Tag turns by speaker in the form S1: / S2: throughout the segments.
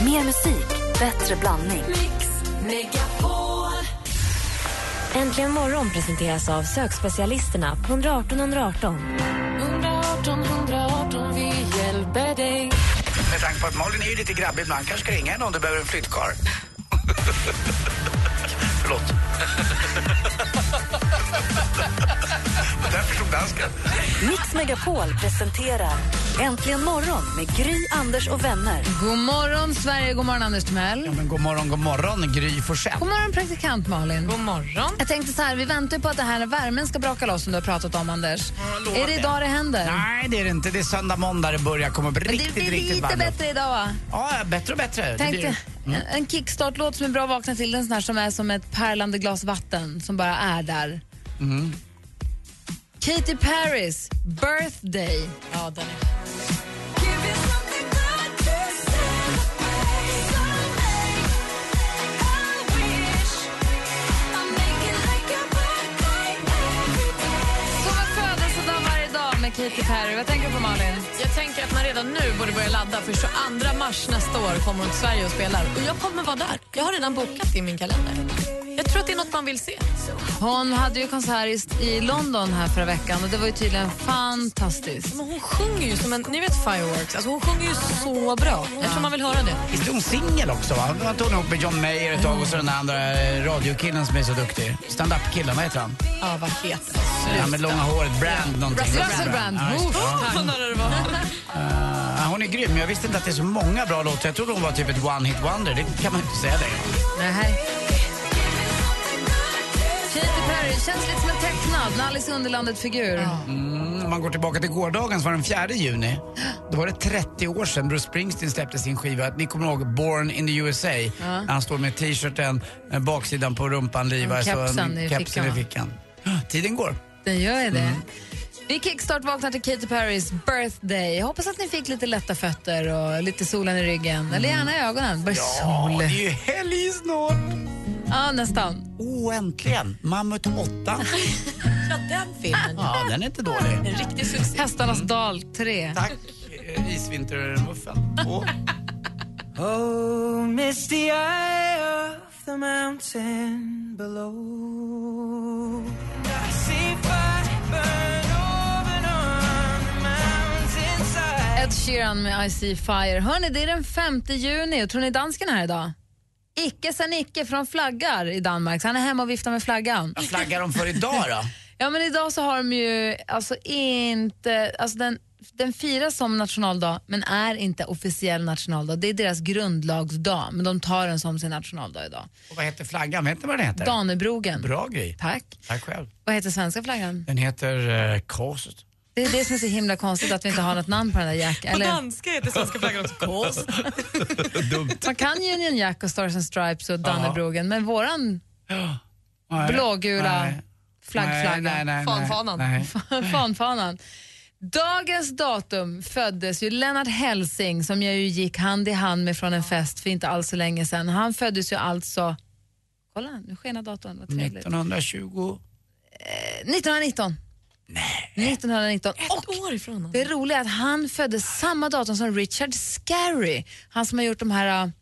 S1: Mer musik, bättre blandning.
S2: Mix Megapol.
S3: Äntligen morgon presenteras av sökspecialisterna på 118 118.
S2: 118 118, vi hjälper dig.
S4: Med tanke på att Malin är ju lite grabbig ibland kanske ska ringa henne om du behöver en flyttkarl. Förlåt. Där förstod dansken.
S1: Mix Megapol presenterar Äntligen morgon med Gry, Anders och vänner.
S5: God morgon, Sverige. God morgon, Anders Timell.
S4: Men god morgon, god morgon, Gry Forssell.
S5: God morgon, praktikant Malin.
S6: God morgon.
S5: Jag tänkte så här, vi väntar ju på att det här värmen ska braka loss som du har pratat om, Anders.
S4: jag lovar
S5: är det
S4: det.
S5: idag det händer?
S4: Nej, det är det inte. Det är söndag, måndag det börjar komma upp
S5: Men
S4: riktigt,
S5: det blir
S4: riktigt
S5: lite
S4: varmt.
S5: bättre idag, va?
S4: Ja, bättre och bättre. Det Mm.
S5: Tänkte,
S4: blir...
S5: En kickstart-låt som är bra att vakna till, en sån här som är som ett pärlande glas vatten som bara är Äh, där. Katy Perrys birthday.
S6: Ja, den är...
S5: Som en födelsedag varje dag med Katy Perry. Vad tänker du på, Malin?
S6: Jag tänker att man redan nu borde börja ladda för 22 mars nästa år kommer hon till Sverige och spelar. Och jag kommer vara där. Jag har redan bokat i min kalender. Jag tror att det är något man vill se.
S5: Hon hade ju konsert i- i London här förra veckan och det var ju tydligen fantastiskt.
S6: Men hon sjunger ju som en, ni vet fireworks, alltså hon sjunger ju så bra. Jag tror man vill höra det.
S4: Visst är hon singel också? Va? Hon tog ihop med John Mayer ett tag och så den där andra eh, radiokillen som är så duktig. Stand-up-killen, vad heter han?
S6: Ja, vad heter
S4: Han med långa håret, Brand någonting.
S5: Russell Brand.
S4: Ja, just det.
S5: Oh,
S4: Ja.
S6: han? det var.
S4: Ja, hon är grym. Jag visste inte att det är så många bra låtar. Jag trodde hon var typ ett one-hit wonder. Det kan man inte säga längre.
S5: Nej. Katy Perry känns lite som en tecknad, en Alice i Underlandet-figur.
S4: Mm, om man går tillbaka till gårdagen så var den 4 juni. Då var det 30 år sedan Bruce Springsteen släppte sin skiva. Ni kommer ihåg Born in the USA? Han står med t-shirten, eh, baksidan på rumpan livar.
S5: Och
S4: så en
S5: kepsen i
S4: kepsen
S5: fickan,
S4: i fickan. Tiden går.
S5: Det gör ju det. Vi kickstart vaknar till Katy Perrys birthday. Jag hoppas att ni fick lite lätta fötter och lite solen i ryggen. Eller gärna i ögonen. Bara
S4: Ja, det
S5: sol.
S4: är ju helg snart.
S5: Ja, nästan.
S4: Oh, äntligen. Mammut 8.
S6: Ja, den filmen.
S4: Ja, den är inte dålig.
S6: En riktig succé.
S5: Hästarnas dal 3.
S4: Tack, eh, isvintermuffen. Två.
S7: Oh, misty eye of the mountain below. I see fire burn over and on the mountainside.
S5: Ed Sheeran med I see fire. Hörni, det är den 5 juni. Tror ni dansken är här idag? Icke sa Nicke från flaggar i Danmark. Så han är hemma och viftar med flaggan.
S4: Vad flaggar de för idag då?
S5: Ja, men idag så har de ju alltså inte... Alltså den, den firas som nationaldag, men är inte officiell nationaldag. Det är deras grundlagsdag, men de tar den som sin nationaldag idag.
S4: Och vad heter flaggan? Vet ni vad den heter?
S5: Danebrogen.
S4: Bra grej.
S5: Tack.
S4: Tack själv.
S5: Vad heter svenska flaggan?
S4: Den heter eh, korset.
S5: Det är det som är så himla konstigt, att vi inte har något namn på den där Jack.
S6: På
S5: Eller,
S6: danska heter svenska flaggan också kost.
S4: Dumt.
S5: man kan ju Union Jack och Stars and Stripes och Dannebrogen, men våran
S4: Nej.
S5: blågula
S4: Nej.
S5: flaggflagga.
S4: Nej, nej, nej, nej,
S6: Fanfanan.
S4: nej.
S5: Fanfanan. Dagens datum föddes ju Lennart Helsing som jag ju gick hand i hand med från en fest för inte alls så länge sedan. Han föddes ju alltså, kolla nu skenar datorn, vad trevligt.
S4: 1920.
S5: 1919. Nej. 1919. Och
S6: Ett år ifrån honom.
S5: det roliga är att han föddes samma datum som Richard Scarry, han som har gjort de här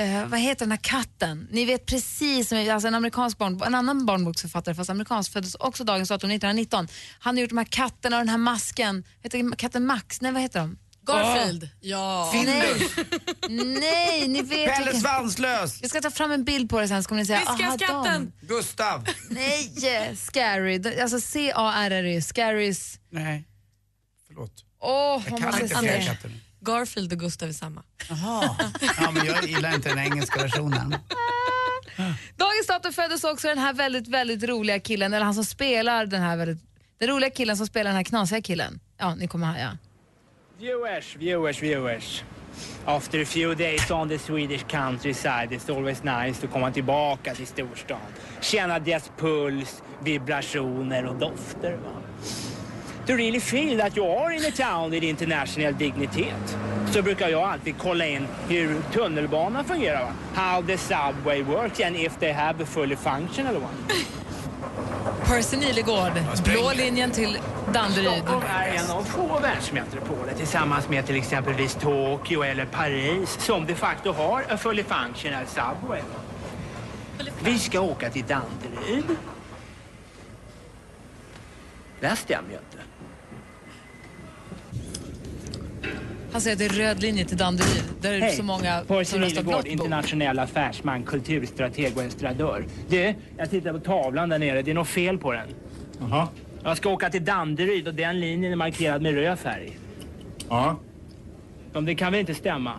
S5: eh, vad heter den här katten? Ni vet precis, alltså en amerikansk barn, en annan barnboksförfattare fast amerikansk föddes också dagens datum 1919. Han har gjort de här katterna och den här masken, heter katten Max, nej vad heter de?
S6: Garfield. Ja.
S5: Nej, nej ni vet
S4: Pelle
S5: vilken.
S4: Svanslös!
S5: Vi ska ta fram en bild på det sen så kommer ni säga,
S6: Fiska
S5: aha,
S6: skatten.
S4: Gustav!
S5: de. Nej, Scary, De- alltså C-A-R-R-Y, Scarys,
S4: Nej. Förlåt.
S5: åh oh,
S4: Jag
S5: vad
S4: kan
S5: man ska
S4: inte fler
S5: se.
S4: katter.
S6: Garfield och Gustav är samma.
S4: Jaha. Ja, men jag gillar inte den engelska versionen.
S5: Dagens datum föddes också den här väldigt, väldigt roliga killen, eller han som spelar den här väldigt, den roliga killen som spelar den här knasiga killen. Ja, ni kommer här, ja.
S8: Viewers, viewers, viewers. After a few days on the Swedish countryside it's always nice att komma tillbaka till storstan. Känna dess puls, vibrationer och dofter. Va? To really feel that you are in a town with international dignitet så brukar jag alltid kolla in hur tunnelbanan fungerar. Va? How the subway works and if they have a fully functional one.
S5: Percy Nilegård, blå linjen till Danderyd.
S8: Stockholm är en av få världsmetropoler tillsammans med till exempelvis Tokyo eller Paris som de facto har a fully functional subway. Vi ska åka till Danderyd. Där stämmer ju inte.
S5: Han säger att det är röd linje till Danderyd. Där är det så många
S8: Paul
S5: som röstar
S8: Civilgård,
S5: blått bok.
S8: internationell affärsman, kulturstrateg och estradör. Du, jag tittar på tavlan där nere. Det är något fel på den.
S9: Jaha.
S8: Jag ska åka till Danderyd och den linjen är markerad med röd färg.
S9: Ja.
S8: Men det kan väl inte stämma?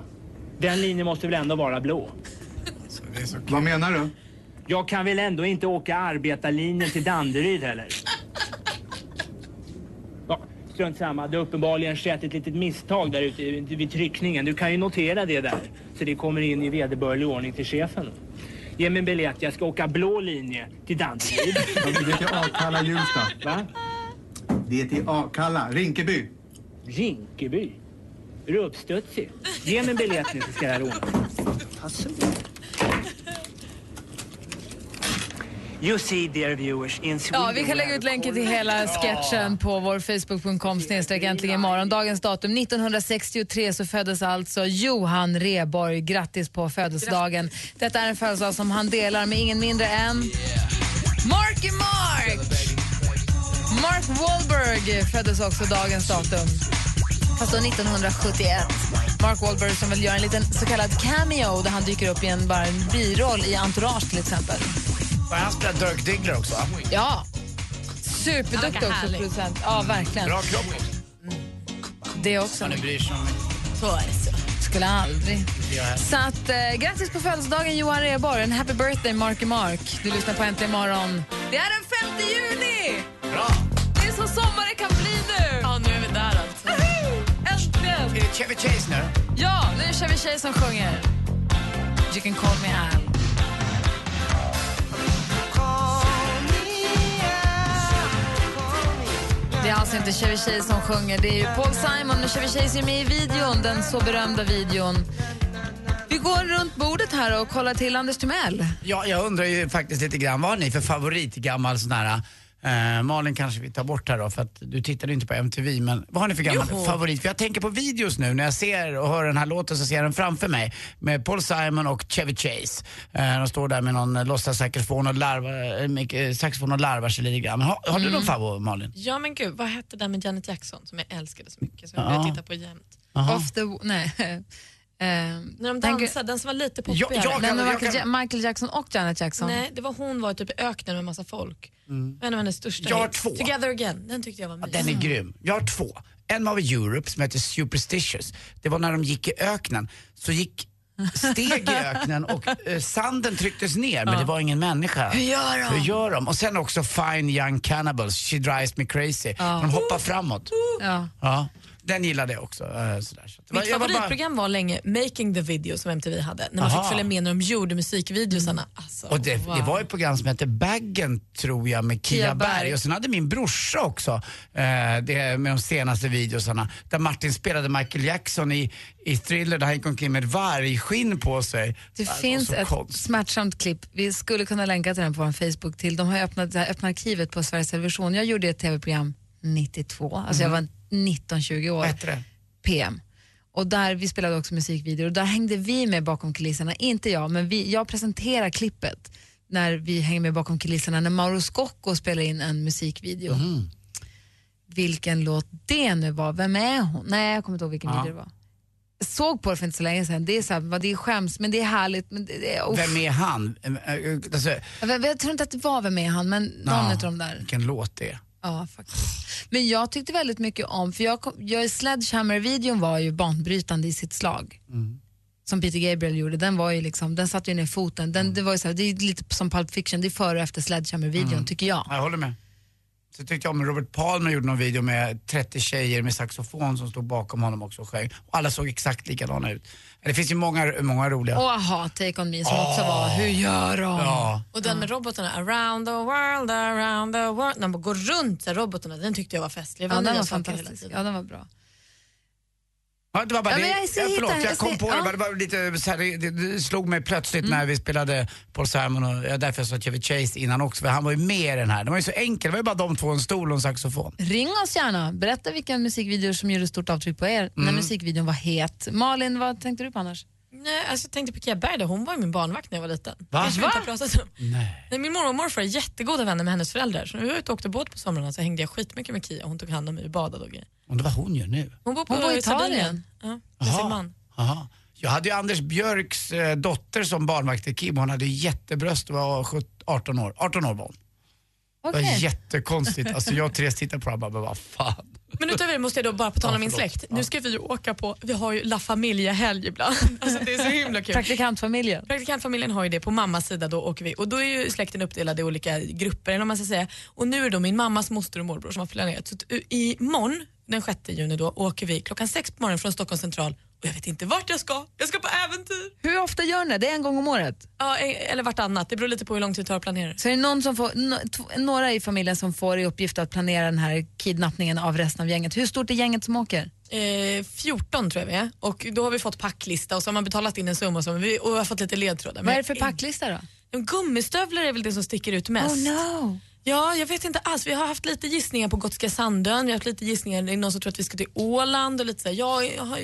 S8: Den linjen måste väl ändå vara blå?
S9: Vad menar du?
S8: Jag kan väl ändå inte åka arbetarlinjen till Danderyd heller? Ja, strunt samma. Det har uppenbarligen skett ett litet misstag där ute vid tryckningen. Du kan ju notera det där. Så det kommer in i vederbörlig ordning till chefen. Ge mig en biljett. Jag ska åka blå linje till Danderyd.
S9: Ja, men Det är till Akalla Hjulsta.
S8: Va?
S9: Det är till Akalla, Rinkeby.
S8: Rinkeby? Är du uppstudsig? Ge mig en biljett nu så ska jag låna. You see dear viewers in Sweden
S5: Ja, vi kan lägga ut länken till hela sketchen på vår facebook.com snedstreck äntligen imorgon. Dagens datum 1963 så föddes alltså Johan Rheborg. Grattis på födelsedagen. Detta är en födelsedag som han delar med ingen mindre än Marky Mark! Mark Wahlberg föddes också dagens datum. Fast då 1971. Mark Wahlberg som vill göra en liten så kallad cameo där han dyker upp i en, bara en biroll i Entourage till exempel.
S4: Var han spelat Dirk Diggler också? va?
S5: Ja. Superduktig
S6: Han verkar
S5: också,
S6: härlig.
S5: producent. Ja, verkligen.
S4: Bra kropp också.
S5: Det också.
S4: Ni bryr sig om mig.
S6: Så är det så.
S5: Skulle aldrig.
S4: Jag är-
S5: Så att, eh, grattis på födelsedagen Johan Rheborg. En happy birthday Marky Mark. Du lyssnar på Äntligen imorgon. Det är den 5 juni!
S4: Bra!
S5: Det är så sommar det kan bli nu!
S6: Ja, nu är vi där alltså.
S5: Äntligen!
S4: Är det Chevy Chase nu?
S5: Ja, nu kör vi tjej som sjunger. You can call me Al. Det är alltså inte Chevy Chase som sjunger, det är ju Paul Simon och Chevy Chase är med i videon, den så berömda videon. Vi går runt bordet här och kollar till Anders Timell.
S4: Ja, jag undrar ju faktiskt lite grann, vad har ni för favoritgammal sån här Eh, Malin kanske vi tar bort här då för att du tittade ju inte på MTV men vad har ni för gammal favorit? För jag tänker på videos nu när jag ser och hör den här låten så ser jag den framför mig med Paul Simon och Chevy Chase. Eh, de står där med någon eh, låtsassaxofon och, larvar, eh, mik- eh, saxofon och larvar sig lite grann. Har, har du någon favorit Malin?
S6: Ja men gud, vad hette den med Janet Jackson som jag älskade så mycket som jag
S4: Ja.
S6: tittar på jämt?
S5: Off the... Nej. Ehm,
S6: När de
S5: den gu-
S6: dansade, den som var lite
S4: Ja,
S6: poppigare.
S4: ja.
S5: Den med
S4: Jag
S5: Michael,
S4: kan-
S5: Ja- Michael Jackson och Janet Jackson.
S6: Nej, det var hon var typ i öknen med massa folk. En av hennes största
S4: Mm. Jag har
S6: hits.
S4: två.
S6: Together again, den tyckte jag var mysig.
S4: Den är grym. Jag har två. En var i Europe som heter Superstitious. Det var när de gick i öknen. Så gick steg i öknen och eh, sanden trycktes ner men det var ingen människa. Hur
S6: gör de?
S4: Hur gör de? Och sen också Fine Young Cannibals, She Drives Me Crazy. De hoppar framåt.
S5: Ja.
S4: Ja. Den gillade jag också. eh, Sådär. Så det var-
S6: Mitt
S4: jag var bara-
S6: favoritprogram var länge Making the video som MTV hade. När man
S4: Aha.
S6: fick följa med när de gjorde musikvideosarna. Alltså,
S4: Och det, det var ett program som hette Baggen tror jag med Kia,
S5: Kia Berg.
S4: Berg. och sen hade min brorsa också eh, det med de senaste videosarna där Martin spelade Michael Jackson i, i Thriller där han gick omkring med ett vargskinn på sig.
S5: Det
S4: var
S5: finns
S4: så
S5: ett
S4: konstigt.
S5: smärtsamt klipp. Vi skulle kunna länka till den på vår Facebook till. De har ju öppnat det här öppna arkivet på Sveriges Television. Jag gjorde ett tv-program 92, alltså jag var 19-20 år.
S4: Vad hette det?
S5: PM. Och där, vi spelade också musikvideor och där hängde vi med bakom kulisserna, inte jag, men vi, jag presenterar klippet när vi hänger med bakom kulisserna när Mauro Scocco spelar in en musikvideo. Vilken låt det nu var, vem är hon? Nej, jag kommer inte ihåg vilken video det var. Jag Såg på det för inte så länge sedan, det är, så här, vad det är skäms men det är härligt. Men det, det är, uff.
S4: Vem är han? Eh, eh, Alltså,
S5: jag, vet- jag tror inte att det var Vem är han, men någon
S4: ja,
S5: av de där.
S4: Vilken låt det är.
S5: Ja, faktiskt. Men jag tyckte väldigt mycket om, för jag, kom- jag, Sledgehammer-videon var ju banbrytande i sitt slag. Som Peter Gabriel gjorde, den var ju liksom, den satte ju ner foten. Den, det, var ju så här, det är lite som Pulp Fiction, det är före och efter Sledgehammer-videon
S4: Mm.
S5: tycker jag.
S4: Ja, Jag håller med. Så tyckte jag om Robert Palmer gjorde någon video med 30 tjejer med saxofon som stod bakom honom också och sjöng. Och alla såg exakt likadana ut. Det finns ju många, många roliga.
S5: Och aha, Take On Me som också var, hur gör de?
S4: Ja.
S6: Och den med robotarna, around the world, around the world. När man går runt där robotarna, den tyckte jag var festlig. Det
S5: Ja,
S6: nya
S5: den var
S6: saker hela
S5: fantastisk.
S6: tiden.
S5: Ja, den var bra.
S4: Ja, det var bara
S5: Ja,
S4: det.
S5: men jag ska
S4: Ja,
S5: hitta-
S4: förlåt,
S5: jag
S4: jag
S5: ska-
S4: kom på
S5: ja. Mm.
S4: det. bara, Det, var lite, så här, det, det slog mig plötsligt när vi spelade Paul Simon och ja, därför jag sa Chevy Chase innan också, för han var ju med i den här. Det var ju så enkel, det var ju bara de två, en stol och en saxofon.
S5: Ring oss gärna. Berätta vilken musikvideo som gjorde stort avtryck på er
S4: Mm.
S5: när musikvideon var het. Malin, vad tänkte du på annars?
S6: Nej, alltså jag tänkte på Kia Berg, då. hon var ju min barnvakt när jag var liten.
S4: Va?
S6: Kanske vi inte har pratat om. Nej. min mormor och morfar är jättegoda vänner med hennes föräldrar. Så när vi var ute och åkte båt på somrarna så hängde jag skitmycket med Kia. Hon tog hand om mig och badade och grejer.
S4: Och det var hon ju nu.
S6: Hon bor på
S5: Hon bor i
S6: Sardinien.
S5: Italien.
S6: Ja, med sin man.
S4: Aha. Jag hade ju Anders Björks eh, dotter som barnvakt till Kim. Hon hade ju jättebröst och var 17, 18 år. 18 år var hon. Det var
S5: Okej.
S4: jättekonstigt. Alltså jag och Therese tittade på det och bara, men vad fan.
S6: Men utöver det måste jag då bara på tal
S4: Ja,
S6: om min
S4: förlåt.
S6: släkt. Nu ska vi ju åka på, vi har ju La Familia-helg ibland. Alltså det är så himla kul.
S5: Praktikantfamiljen.
S6: Praktikantfamiljen har ju det, på mammas sida då åker vi och då är ju släkten uppdelad i olika grupper eller om man ska säga. Och nu är det då min mammas moster och morbror som har planerat. Så t- imorgon, den 6 juni då, åker vi klockan sex på morgonen från Stockholms central och jag vet inte vart jag ska. Jag ska på äventyr!
S5: Hur ofta gör ni det? Det är en gång om året.
S6: Ja, eh, eller vartannat, det beror lite på hur lång tid det tar att planera.
S5: Så är det någon som får, no, tv- några i familjen som får i uppgift att planera den här kidnappningen av resten av gänget. Hur stort är gänget som åker?
S6: Eh, 14 tror jag vi är och då har vi fått packlista och så har man betalat in en summa som vi, och vi har fått lite ledtrådar.
S5: Vad är det för packlista då? Oh,
S6: Men Gummistövlar är väl det som sticker ut mest.
S5: no!
S6: Ja, jag vet inte alls. Vi har haft lite gissningar på Gotska Sandön, vi har haft lite gissningar, det är någon som tror att vi ska till Åland och lite sådär. Jag, jag, har,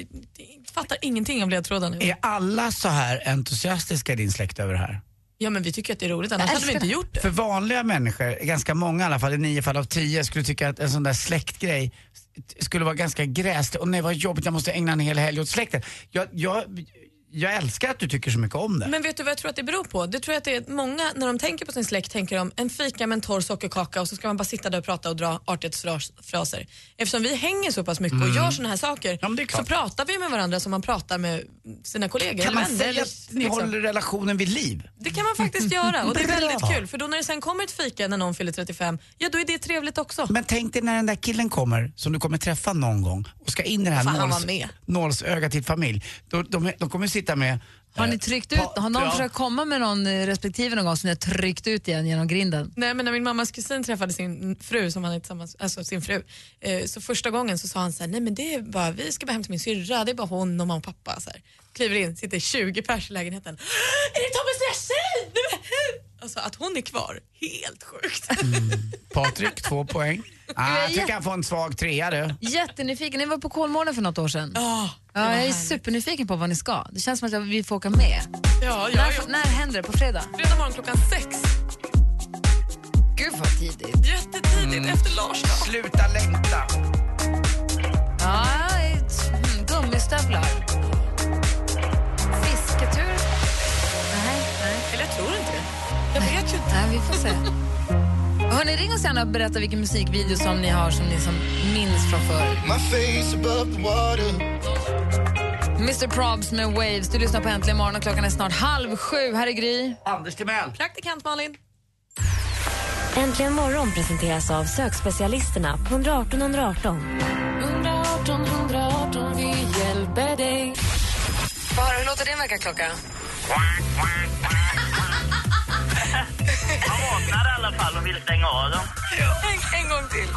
S6: fattar ingenting av ledtrådarna.
S4: Är alla så här entusiastiska i din släkt över det här?
S6: Ja, men vi tycker att det är roligt, annars
S5: Jag
S6: hade vi
S5: älskar
S6: inte gjort det.
S4: För vanliga människor, ganska många i alla fall, i nio fall av tio, skulle tycka att en sån där släktgrej skulle vara ganska gräslig. Och nej vad jobbigt, jag måste ägna en hel helg åt släkten. Jag, jag, jag älskar att du tycker så mycket om det.
S6: Men vet du vad jag tror att det beror på? Det tror jag att det är att många, när de tänker på sin släkt, tänker de en fika med en torr sockerkaka och så ska man bara sitta där och prata och dra artighetsfraser. Eftersom vi hänger så pass mycket och gör sådana här saker
S4: Mm. Ja, men det är
S6: så
S4: klart.
S6: pratar vi med varandra som man pratar med sina kollegor
S4: Kan
S6: eller
S4: man
S6: vänner.
S4: säga
S6: eller
S4: att ni
S6: liksom.
S4: håller relationen vid liv?
S6: Det kan man faktiskt göra och det är
S4: Bra.
S6: väldigt kul för då när det sen kommer ett fika när någon fyller 35, ja då är det trevligt också.
S4: Men tänk dig när den där killen kommer, som du kommer träffa någon gång och ska in i det här
S6: Fan, han var
S4: nåls,
S6: med.
S4: nålsögat till familj. Då, de, de kommer sitta med...
S5: Har
S4: eh,
S5: ni tryckt ut?
S4: pa-
S5: Har någon
S4: ja.
S5: försökt komma med någon eh, respektive någon gång som ni har tryckt ut igen genom grinden?
S6: Nej men när min mammas kusin träffade sin fru som han är tillsammans alltså sin fru, eh, så första gången så sa han så här, nej men det är bara, vi ska bara hem till min syrra, det är bara hon och mamma och pappa. Så här. Kliver in, sitter 20 pers i lägenheten. Är det Tommys nya tjej? Nej, men- Alltså att hon är kvar, helt sjukt.
S4: Mm. Patrik, två poäng. Ah, jag tycker han får en svag trea du.
S5: Jättenyfiken. Ni var på Kolmården för något år sedan.
S6: Ja, Ah, det
S5: Ja,
S6: var
S5: jag är
S6: härligt.
S5: supernyfiken på vad ni ska. Det känns som att jag vill få åka med.
S6: Ja, jag
S5: När,
S6: är
S5: när händer det? På fredag?
S6: Fredag morgon klockan sex,
S5: Gud vad tidigt.
S6: jättetidigt
S4: Mm.
S6: efter Lars dag.
S4: Sluta längta.
S5: Ja, ett- mm, gummistövlar. Fisketur? Nej, nej.
S6: Eller jag tror inte det. Jag vet ju inte.
S5: nej vi får se. Hörni, ring oss gärna och berätta vilken musikvideo som ni har som ni som minns från förr. Mr Probs med Waves. Du lyssnar på Äntligen morgon och klockan är snart halv sju. Här är Gry.
S4: Anders Timell.
S6: Praktikant Malin.
S3: Äntligen morgon presenteras av sökspecialisterna på 118 118.
S2: 118 118 vi hjälper dig
S5: Bara, hur låter din väckarklocka?
S10: Han vaknade i alla fall och ville stänga av dem.
S6: En, en gång till.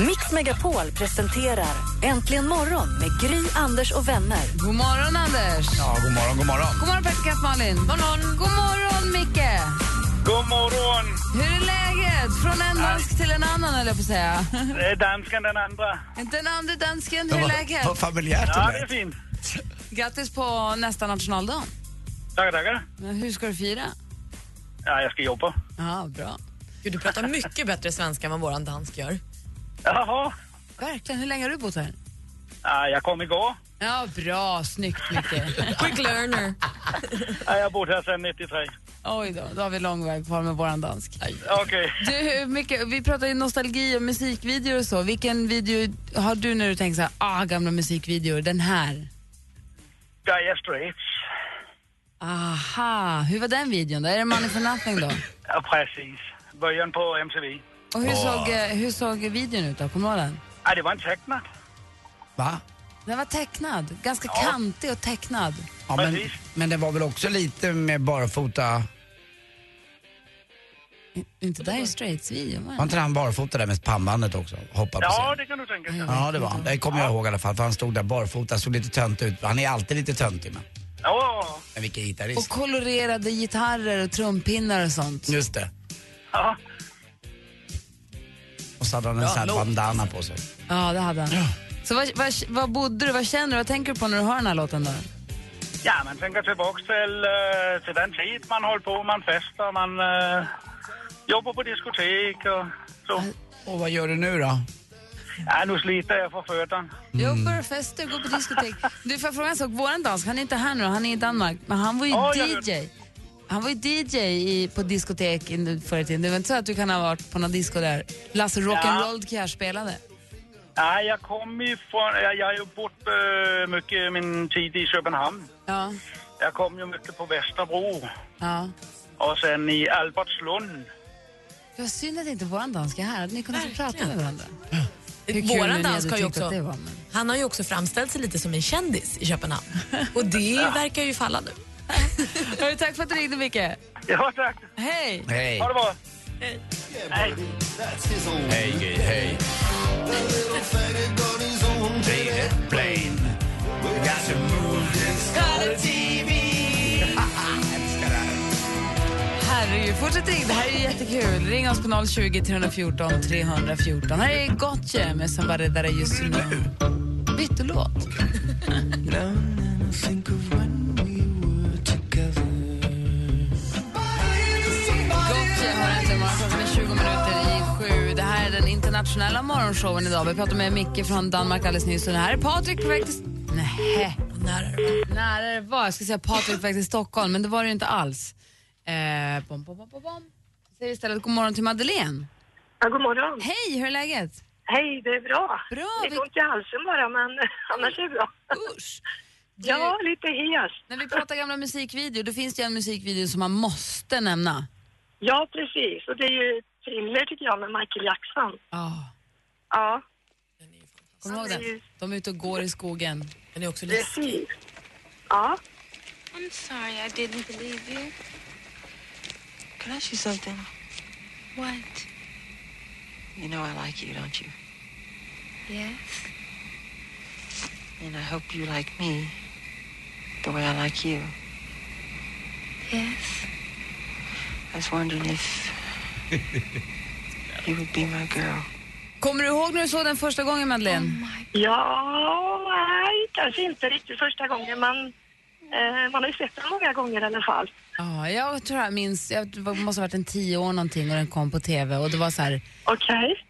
S1: Mix Megapol presenterar Äntligen morgon med Gry, Anders och vänner.
S5: God morgon, Anders.
S4: Ja, god morgon, god morgon.
S5: God morgon, praktikant Malin. God morgon. God morgon, Micke.
S10: God morgon!
S5: Hur är läget? Från en dansk till en annan, höll jag på att säga.
S10: Det är dansken den andra.
S5: Den andra dansken, hur är läget?
S4: Vad familjärt
S10: Ja,
S4: det
S10: det är
S4: lät.
S10: fint.
S5: Grattis på nästa nationaldag.
S10: Tackar, tackar.
S5: Men hur ska du fira?
S10: Ja, jag ska jobba.
S5: Ja, bra.
S6: Gud, du pratar mycket bättre svenska än vad våran dansk gör.
S10: Jaha.
S5: Verkligen, hur länge har du bott här?
S10: Ja, jag kom igår.
S5: Ja, bra. Snyggt, Micke.
S6: Quick learner.
S10: Ja, jag har bott här sedan 93.
S5: Oj då, då har vi lång väg kvar med våran dansk.
S10: Okej.
S5: Du, Micke, vi pratar ju nostalgi och musikvideor och så. Vilken video har du när du tänker så här, ah, gamla musikvideor, den här?
S10: Dire Straits.
S5: Aha, hur var den videon då? Är det Money for nothing då?
S10: Ja, precis. Början på MTV.
S5: Och hur, såg, eh, hur såg videon ut då? Kommer du ihåg den?
S10: Ja, Ah, det var en tecknad.
S4: Va?
S5: Den var tecknad, ganska kantig och tecknad.
S4: Ja, men,
S10: Precis.
S4: men det var väl också lite med barfota...
S5: Inte Dire Straits-videon, va?
S4: Var inte han barfota där med pannbandet också? Hoppade
S11: Ja,
S4: på scenen.
S11: det kan du tänka dig.
S4: Ja, det var han. Det kommer jag ihåg i alla fall, för han stod där barfota, såg lite tönt ut. Han är alltid lite töntig, men,
S11: Ja,
S4: men vilken
S5: Och
S4: gitarrist.
S5: kolorerade gitarrer och trumpinnar och sånt.
S4: Just det.
S11: ja.
S4: Och så hade han en sån här bandana på sig.
S5: Ja, det hade han. Så vad, vad, vad bodde du, vad känner du, vad tänker du på när du hör den här låten då?
S11: ja man tänker tillbaka till, eh, till den tid man höll på, man festar, man eh, jobbar på diskotek och så.
S4: Och vad gör du nu då?
S11: Ja, nu sliter jag för fötterna.
S5: Jobbar och festar, går på diskotek. Du, får jag fråga en sak? Våran dansk, han är inte här nu, han är i Danmark, men han var ju
S11: Ja, jag vet.
S5: DJ. Han var ju DJ i, på diskotek in- förr i tiden. Det var inte så att du kan ha varit på någon disco där Lasse Rock'n'Roll Care spelade?
S11: Nej, jag kommer ju från... Jag, jag har ju bott eh, mycket min tid i Köpenhamn.
S5: Ja.
S11: Jag kom ju mycket på Västerbro
S5: ja.
S11: och sen i Albertslund.
S5: Det var synd att inte våran dansk är här, hade ni kunnat få prata med varandra? Hur kul när
S6: Våran
S5: ni
S6: dansk
S5: hade
S6: har ju
S5: tyckt att
S6: också,
S5: det var, men-
S6: han har ju också framställt sig lite som en kändis i Köpenhamn. Och det verkar ju falla nu.
S5: Hörru, tack för att du ringde, Micke.
S11: Ja, tack.
S5: Hej!
S4: Hej.
S11: Ha det bra. Hej.
S4: Hej, Gry, hej. Blir ett plane. We got to move this color TV. Älskar det här.
S5: Herregud, fortsätt ring. Det här är ju jättekul. Ring oss på 020 314 314. Här är Gotye med Somebody That I Used To Know. Bytte låt. Gotye har äntligen morgon. Klockan är 20 minuter i sju. Det här är den internationella morgonshowen idag. Vi pratade med Micke från Danmark alldeles nyss. Och det här är Patrik på väg till... Nähä. Nära det var. Jag skulle säga Patrik på väg till Stockholm, men det var det ju inte alls. Eh, bom, bom, bom, bom, bom. Jag säger istället god morgon till Madeleine.
S12: Ja, god morgon.
S5: Hej, hur är läget?
S12: Hej, det är bra.
S5: Bra,
S12: Lite
S5: vi-
S12: ont i halsen bara, men annars är det bra.
S5: Usch. Du,
S12: Ja, lite hes.
S5: När vi pratar gamla musikvideor, då finns det ju en musikvideo som man måste nämna.
S12: Ja, precis. Och det är ju thriller tycker jag med Michael Jackson.
S5: Oh.
S12: Ja,
S5: Kommer du ihåg den? De är ute och går i skogen.
S6: Den är också lite
S12: precis. Ja,
S13: I'm sorry I didn't believe you.
S12: Can I ask you something?
S13: What?
S12: You know I like you, don't you?
S13: Yes?
S12: And I hope you like me the way I like you.
S13: Yes?
S12: I was wondering if you would be my girl.
S5: Kommer du ihåg när du såg den första gången, Madeleine?
S12: Ja, nej, kanske inte riktigt första gången, men eh, man har ju sett den många gånger i alla fall.
S5: Ja, jag tror jag minns, jag var- måste ha varit en tio år någonting och den kom på tv och det var så här,
S12: Okej.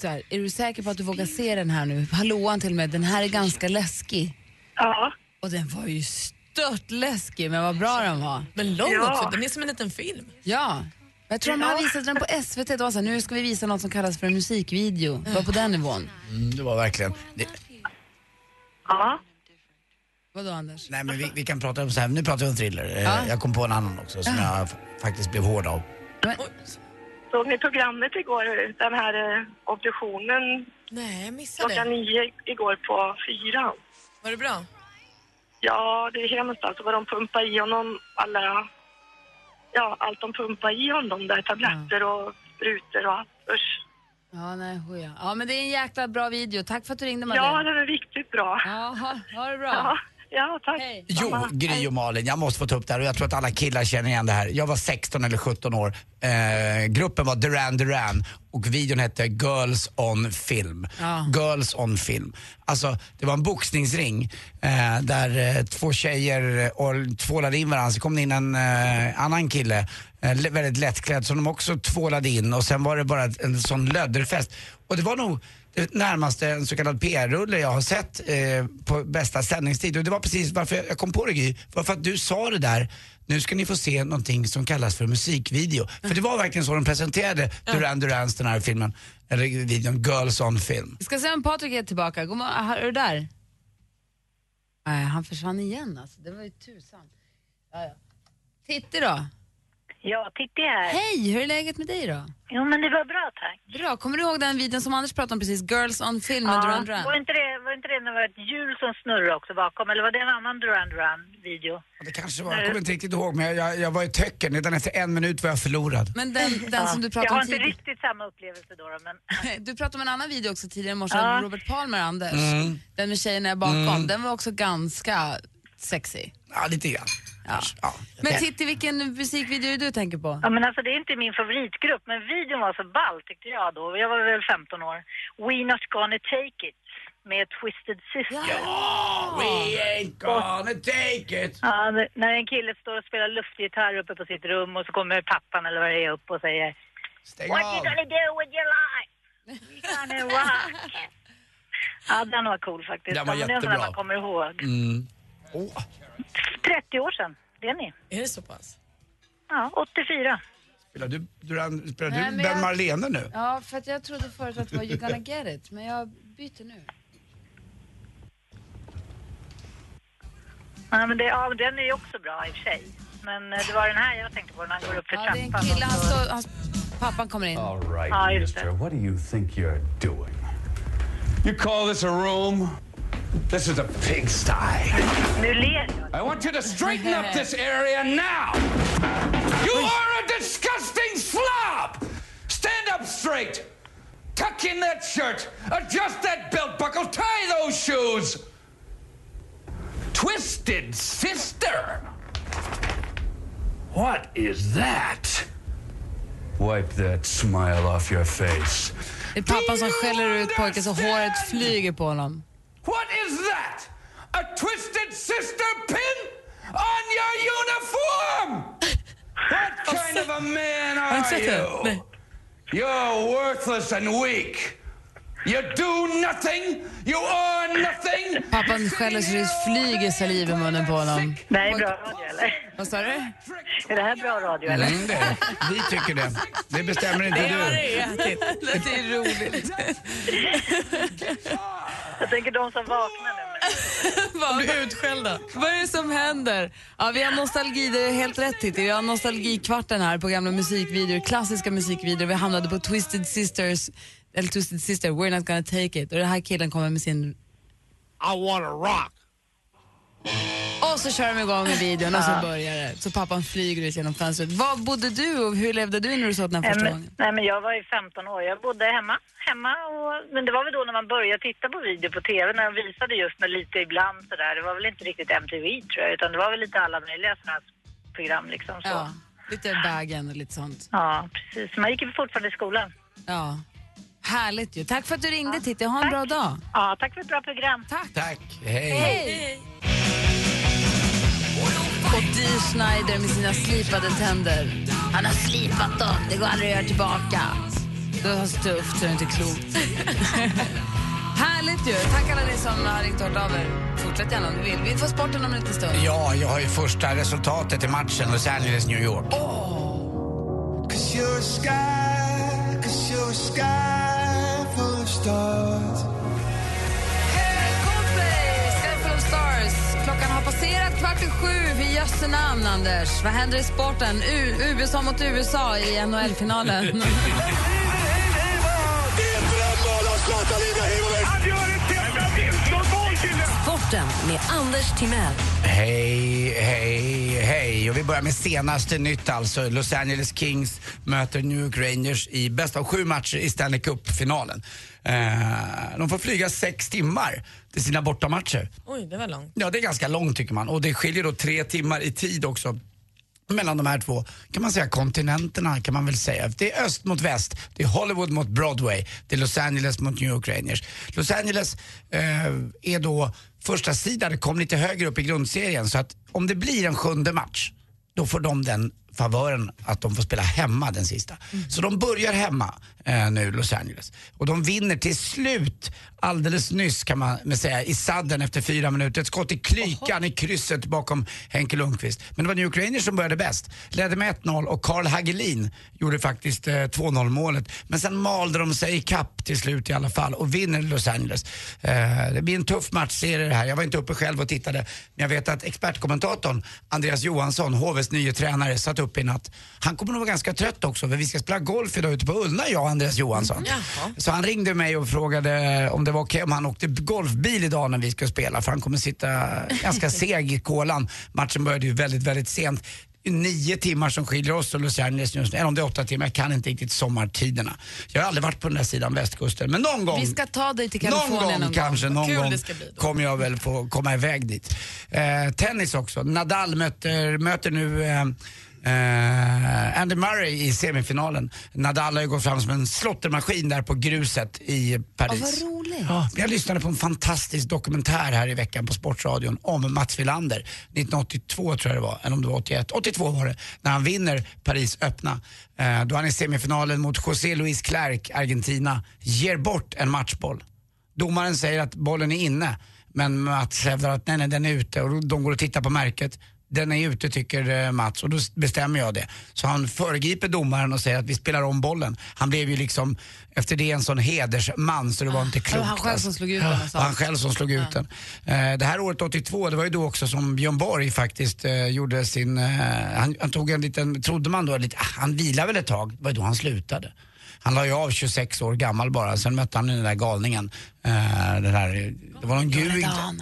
S5: så här, är du säker på att du vågar se den här nu? Hallåan till och med, den här är ganska läskig.
S12: Ja.
S5: Och den var ju stört läskig, men vad bra den var.
S6: Men lång
S12: Ja.
S6: också, den är som en liten film.
S5: Ja. Jag tror de har visat den på SVT, det var så här, nu ska vi visa något som kallas för en musikvideo. Det var på den nivån.
S4: Mm, det var verkligen... Det,
S12: Ja.
S5: Vadå Anders?
S4: nej, men vi, vi kan prata om så här. Nu pratar vi om thriller. Eh,
S5: Ja.
S4: Jag kom på en annan också som jag f- faktiskt blev hård av.
S12: Såg ni programmet igår, den här eh, obduktionen
S6: Nej, jag missade
S12: klockan
S6: det.
S12: nio igår på fyran?
S6: Var det bra?
S12: Ja, det är hemskt alltså vad de pumpar i honom, alla, ja allt de pumpar i honom där, tabletter och sprutor och allt. Usch.
S5: Ja, nej, hoja. Ja, men det är en jäkla bra video. Tack för att du ringde
S12: Ja,
S5: Madeleine.
S12: det var riktigt bra.
S5: Ja, ha, ha det bra.
S12: Ja, ja tack.
S5: Hej.
S4: Jo,
S12: Samma.
S4: Gry och Malin, jag måste få ta upp det här och jag tror att alla killar känner igen det här. Jag var 16 eller 17 år. Eh, gruppen var Duran Duran och videon hette Girls on film.
S5: Ja.
S4: Girls on film. Alltså, det var en boxningsring eh, där eh, två tjejer eh, och tvålade in varandra. Så kom det in en eh, annan kille, eh, lä- väldigt lättklädd, som de också tvålade in och sen var det bara ett- en sån lödderfest. Och det var nog det närmaste en så kallad PR-rulle jag har sett eh, på bästa sändningstid. Och det var precis varför jag- jag kom på det Gry, var för att du sa det där nu ska ni få se någonting som kallas för musikvideo. För det var verkligen så de presenterade Duran Durans den här filmen, eller videon, Girls on film.
S5: Vi ska se om Patrik är tillbaka. God morgon. Ah, Är du där? Nej, han försvann igen alltså. Det var ju tusan. Ja, ja. Titti då?
S12: Ja, Pippi här.
S5: Hej, hur är läget med dig då?
S12: Jo, men det var bra, tack.
S5: Bra. Kommer du ihåg den videon som Anders pratade om precis? Girls on film med Duran Duran?
S12: var inte det, var inte det när det var ett hjul som snurrade också bakom? Eller var det en annan Duran Duran-video?
S4: Det kanske var, jag kommer inte riktigt ihåg, men jag, jag, jag var i töcken. Redan efter en minut var jag förlorad.
S5: Men den, den
S12: Ja.
S5: som du pratade
S12: Jag har
S5: om
S12: inte
S5: tidigare.
S12: riktigt samma upplevelse då, då men...
S5: Du pratade om en annan video också tidigare i morse,
S12: Ja.
S5: om Robert Palmer Anders.
S4: Mm.
S5: Den med tjejerna bakom.
S4: Mm.
S5: Den var också ganska sexy.
S4: Ja, lite grann.
S5: Ja. Men Titti, vilken musikvideo är det du tänker på?
S12: Ja, men alltså det är inte min favoritgrupp, men videon var så ball tyckte jag då. Jag var väl 15 år. We not gonna take it med Twisted Sister. Ja,
S4: we ain't gonna take it!
S12: Ja, n- när en kille står och spelar luftgitarr uppe på sitt rum och så kommer pappan eller vad det är upp och säger
S4: Stäng
S12: What
S4: av.
S12: you gonna do with your life? We gonna rock! ja, den var cool faktiskt.
S4: Den var
S12: Ja, men det är en sån där
S4: jättebra.
S12: man kommer ihåg.
S4: Mm.
S12: 30 år sedan, det är ni.
S6: Är det så pass?
S12: Ja, 84.
S4: Spelar du, Duran- spelar
S5: Nej,
S4: du
S5: men
S4: Ben
S5: jag-
S4: Marlene nu?
S5: Ja, för att jag trodde förut att det var You're gonna get it, men jag byter nu.
S12: Ja, men det, ja, den är ju också bra i och för sig. Men eh, det var den här jag tänkte på när han går upp för
S5: Ja, det är
S12: trappan.
S5: en kille,
S12: och
S5: han
S12: så-
S5: står, han, pappan kommer in.
S14: All right,
S12: Ah, just
S14: mister. What do you think you're doing? You call this a room? This is a pigsty.
S12: Nu ler
S14: I want you to straighten up this area now. You are a disgusting slob. Stand up straight. Tuck in that shirt. Adjust that belt buckle. Tie those shoes. Twisted sister. What is that? Wipe that smile off your face.
S5: Det är pappan som skäller ut pojken så håret flyger på honom.
S14: What is that? A twisted sister pin on your uniform? What kind of a man
S7: Har du inte
S14: are
S7: sett det?
S14: you? You're worthless and weak. You do nothing. You are nothing.
S5: Pappan skäller så det flyger saliv i munnen på honom.
S12: Det här är bra radio, eller?
S5: Vad sa du?
S12: Är det här bra radio, eller?
S4: Mm, det är det. Vi tycker det. Det bestämmer inte
S12: Det
S4: du.
S12: var det, jätteroligt.
S5: Det är roligt.
S12: Jag tänker de som vaknar nu.
S5: Vad blir utskällda. Vad är det som händer? Ja, vi har nostalgi, det är helt rätt Titti. Vi har nostalgikvarten här på gamla musikvideor, klassiska musikvideor. Vi hamnade på Twisted Sisters, eller Twisted Sister, We're Not Gonna Take It. Och den här killen kommer med sin...
S7: I wanna rock.
S5: Och så kör de igång med videon och så
S12: Ja.
S5: börjar det. Så pappan flyger ut genom fönstret. Var bodde du och hur levde du när du såg den här
S12: Nej,
S5: första
S12: men,
S5: gången?
S12: nej, men jag var ju 15 år. Jag bodde hemma. hemma och, men det var väl då när man började titta på video på TV, när de visade just med lite ibland sådär. Det var väl inte riktigt MTV tror jag, utan det var väl lite alla möjliga sådana här program liksom. Så.
S5: Ja, lite Bagen och lite sånt.
S12: Ja, precis. Man gick ju fortfarande i skolan.
S5: Ja. Härligt ju. Tack för att du ringde Titti, ha en bra dag.
S12: Ja, tack för ett bra program.
S5: Tack.
S4: Tack.
S5: Hej. Och Dee Schneider med sina slipade tänder. Han har slipat dem, det går aldrig att göra tillbaka. Du har tufft så det är inte klokt. Härligt ju. Tack alla ni som har ringt och hört av er. Fortsätt gärna om ni vill. Vi får sporten om en liten stund.
S4: Ja, jag har ju första resultatet i matchen Los Angeles, New York.
S7: Cause you're a sky, cause you're a sky full of stars.
S5: Sky full of stars. Klockan har passerat kvart i sju. I jösse namn, Anders. Vad händer i sporten? U- USA mot USA i NHL-finalen.
S1: Sporten med Anders Timell.
S4: Hej, hej, hej. Och vi börjar med senaste nytt alltså. Los Angeles Kings möter New York Rangers i bäst av sju matcher i Stanley Cup-finalen. Eh, de får flyga sex timmar till sina bortamatcher.
S6: Oj, det var långt.
S4: Ja, det är ganska långt tycker man. Och det skiljer då tre timmar i tid också mellan de här två, kan man säga kontinenterna kan man väl säga. Det är öst mot väst, det är Hollywood mot Broadway, det är Los Angeles mot New York Rangers. Los Angeles eh, är då första sidan, det kom lite högre upp i grundserien så att om det blir en sjunde match, då får de den favören att de får spela hemma den sista. Så de börjar hemma. eh, nu, Los Angeles. Och de vinner till slut, alldeles nyss kan man väl säga, i sadden efter fyra minuter. Ett skott i klykan i krysset bakom Henke Lundqvist. Men det var New York Rangers som började bäst. Ledde med 1-0 och Carl Hagelin gjorde faktiskt eh, 2-0 målet. Men sen malde de sig i kapp till slut i alla fall och vinner Los Angeles. Eh, det blir en tuff matchserie det här. Jag var inte uppe själv och tittade, men jag vet att expertkommentatorn Andreas Johansson, HVs nye tränare, satt upp i natt. Han kommer nog vara ganska trött också, för vi ska spela golf idag ute på Ullna, jag och Andreas Johansson.
S5: Mm,
S4: Så han ringde mig och frågade om det var okej om han åkte golfbil idag när vi ska spela, för han kommer sitta ganska seg i kolan. Matchen började ju väldigt, väldigt sent. Nio timmar som skiljer oss och Los Angeles just nu, eller om det är åtta timmar, jag kan inte riktigt sommartiderna. Jag har aldrig varit på den där sidan västkusten, men någon gång
S5: Vi ska ta dig till
S4: någon
S5: Kalifornien
S4: gång, kanske, någon
S5: Kul
S4: gång
S5: det ska bli.
S4: kommer jag väl få komma iväg dit. Eh, tennis också. Nadal möter, möter nu eh, eh, Andy Murray i semifinalen. Nadal har ju gått fram som en slottermaskin där på gruset i Paris.
S5: vad roligt.
S4: Ja, jag lyssnade på en fantastisk dokumentär här i veckan på Sportradion om Mats Wilander. 1982 tror jag det var, eller om det var 81. 82 var det, när han vinner Paris öppna. Eh, då han i semifinalen mot José Luis Clark, Argentina, ger bort en matchboll. Domaren säger att bollen är inne, men Mats hävdar att nej, nej, den är ute och de går och tittar på märket. Den är ute tycker eh, Mats och då s- bestämmer jag det. Så han föregriper domaren och säger att vi spelar om bollen. Han blev ju liksom, efter det en sån hedersman så det var inte
S5: Det
S4: klokt.
S5: var han själv
S4: alltså.
S5: som slog ut
S4: Ja,
S5: den och
S4: det var
S5: sa.
S4: han själv som slog ut den. Eh, Det här året 82, det var ju då också som Björn Borg faktiskt eh, gjorde sin, eh, han, han tog en liten, trodde man då, lite, ah, han vilade väl ett tag, det var ju då han slutade. Han la ju av 26 år gammal bara, sen mötte han den där galningen. Eh, den här, det var någon gud...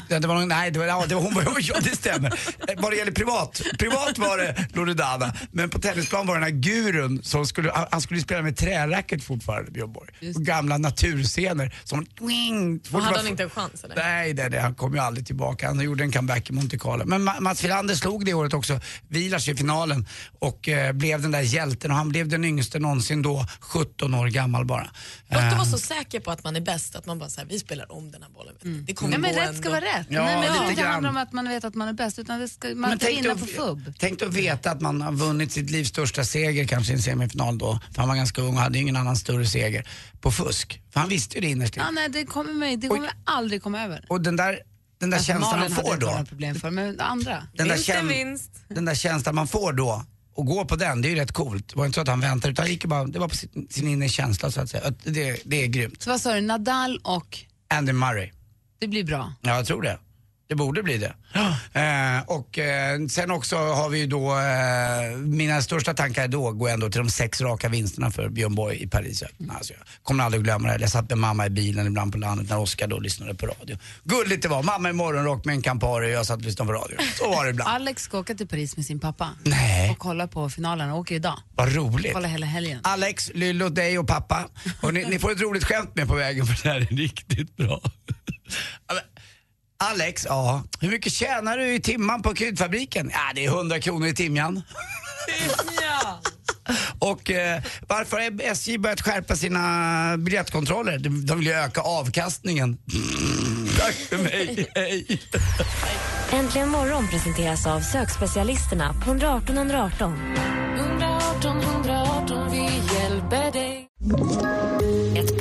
S4: Ja, det var någon, nej, det var, ja, det var hon var ja, det stämmer. Eh, Vad det gäller privat, privat var det Loredana. Men på tennisplan var den här gurun som skulle, han- han skulle ju spela med träracket fortfarande, Björn Borg. Och gamla naturscener som... Wing,
S6: Och hade han inte en chans eller?
S4: Nej, nej, nej, han kom ju aldrig tillbaka. Han gjorde en comeback i Monte Carlo. Men Ma- Mats Wilander slog det året också, Vilars i finalen och eh, blev den där hjälten och han blev den yngste någonsin då, 17 år gammal bara.
S6: Gott att
S4: Eh,
S6: vara så säker på att man är bäst, att man bara säger vi spelar om den här bollen. vet du. Det kommer
S5: Mm. Ja, men
S6: gå
S5: rätt ska
S6: ändå.
S5: vara rätt.
S4: Ja,
S5: Nej, men
S4: lite
S5: jag tycker inte det
S4: grann.
S5: handlar om att man vet att man är bäst utan det ska, man ska vinna på fubb.
S4: tänk att veta att man har vunnit sitt livs största seger kanske i en semifinal då, för han var ganska ung och hade ju ingen annan större seger, på fusk. För han visste ju det innerst inne.
S5: Ja, nej, det kommer, mig, det kommer jag aldrig komma över.
S4: Och den där, den där känslan han
S5: Malin Alltså, hade
S4: får
S5: jag
S4: då.
S5: några problem för, men andra.
S4: Den där, käns- den där känslan man får då och gå på den, det är ju rätt coolt. Det var inte så att han väntade utan han gick ju bara, det var på sin, sin inre känsla så att säga. Att Det, det är grymt.
S5: Så vad sa du, Nadal och
S4: Andy Murray.
S5: det blir bra?
S4: Ja, jag tror det. Det borde bli det. Eh, och eh, sen också har vi ju då, eh, mina största tankar då går ändå till de sex raka vinsterna för Björn Borg i Paris. Alltså, jag kommer aldrig glömma det här. Jag satt med mamma i bilen ibland på landet när Oskar då lyssnade på radio. Gulligt det var. Mamma i morgonrock med en Campari och jag satt och lyssnade på radio. Så var det ibland.
S5: Alex ska åka till Paris med sin pappa och kolla på finalen. Han åker idag.
S4: Vad roligt.
S5: Kolla hela helgen.
S4: Alex, Lyllo, dig och pappa. Och ni, ni får ett roligt skämt med på vägen för det här är riktigt bra. Alex, ja. Hur mycket tjänar du i timman på kryddfabriken? Ja, det är 100 kronor i timjan. Och eh, varför har SJ börjat skärpa sina biljettkontroller? De, de vill ju öka avkastningen. Tack för mig, hej.
S3: Äntligen morgon presenteras av sökspecialisterna på 118 118.
S15: 118 118, vi hjälper dig. Ett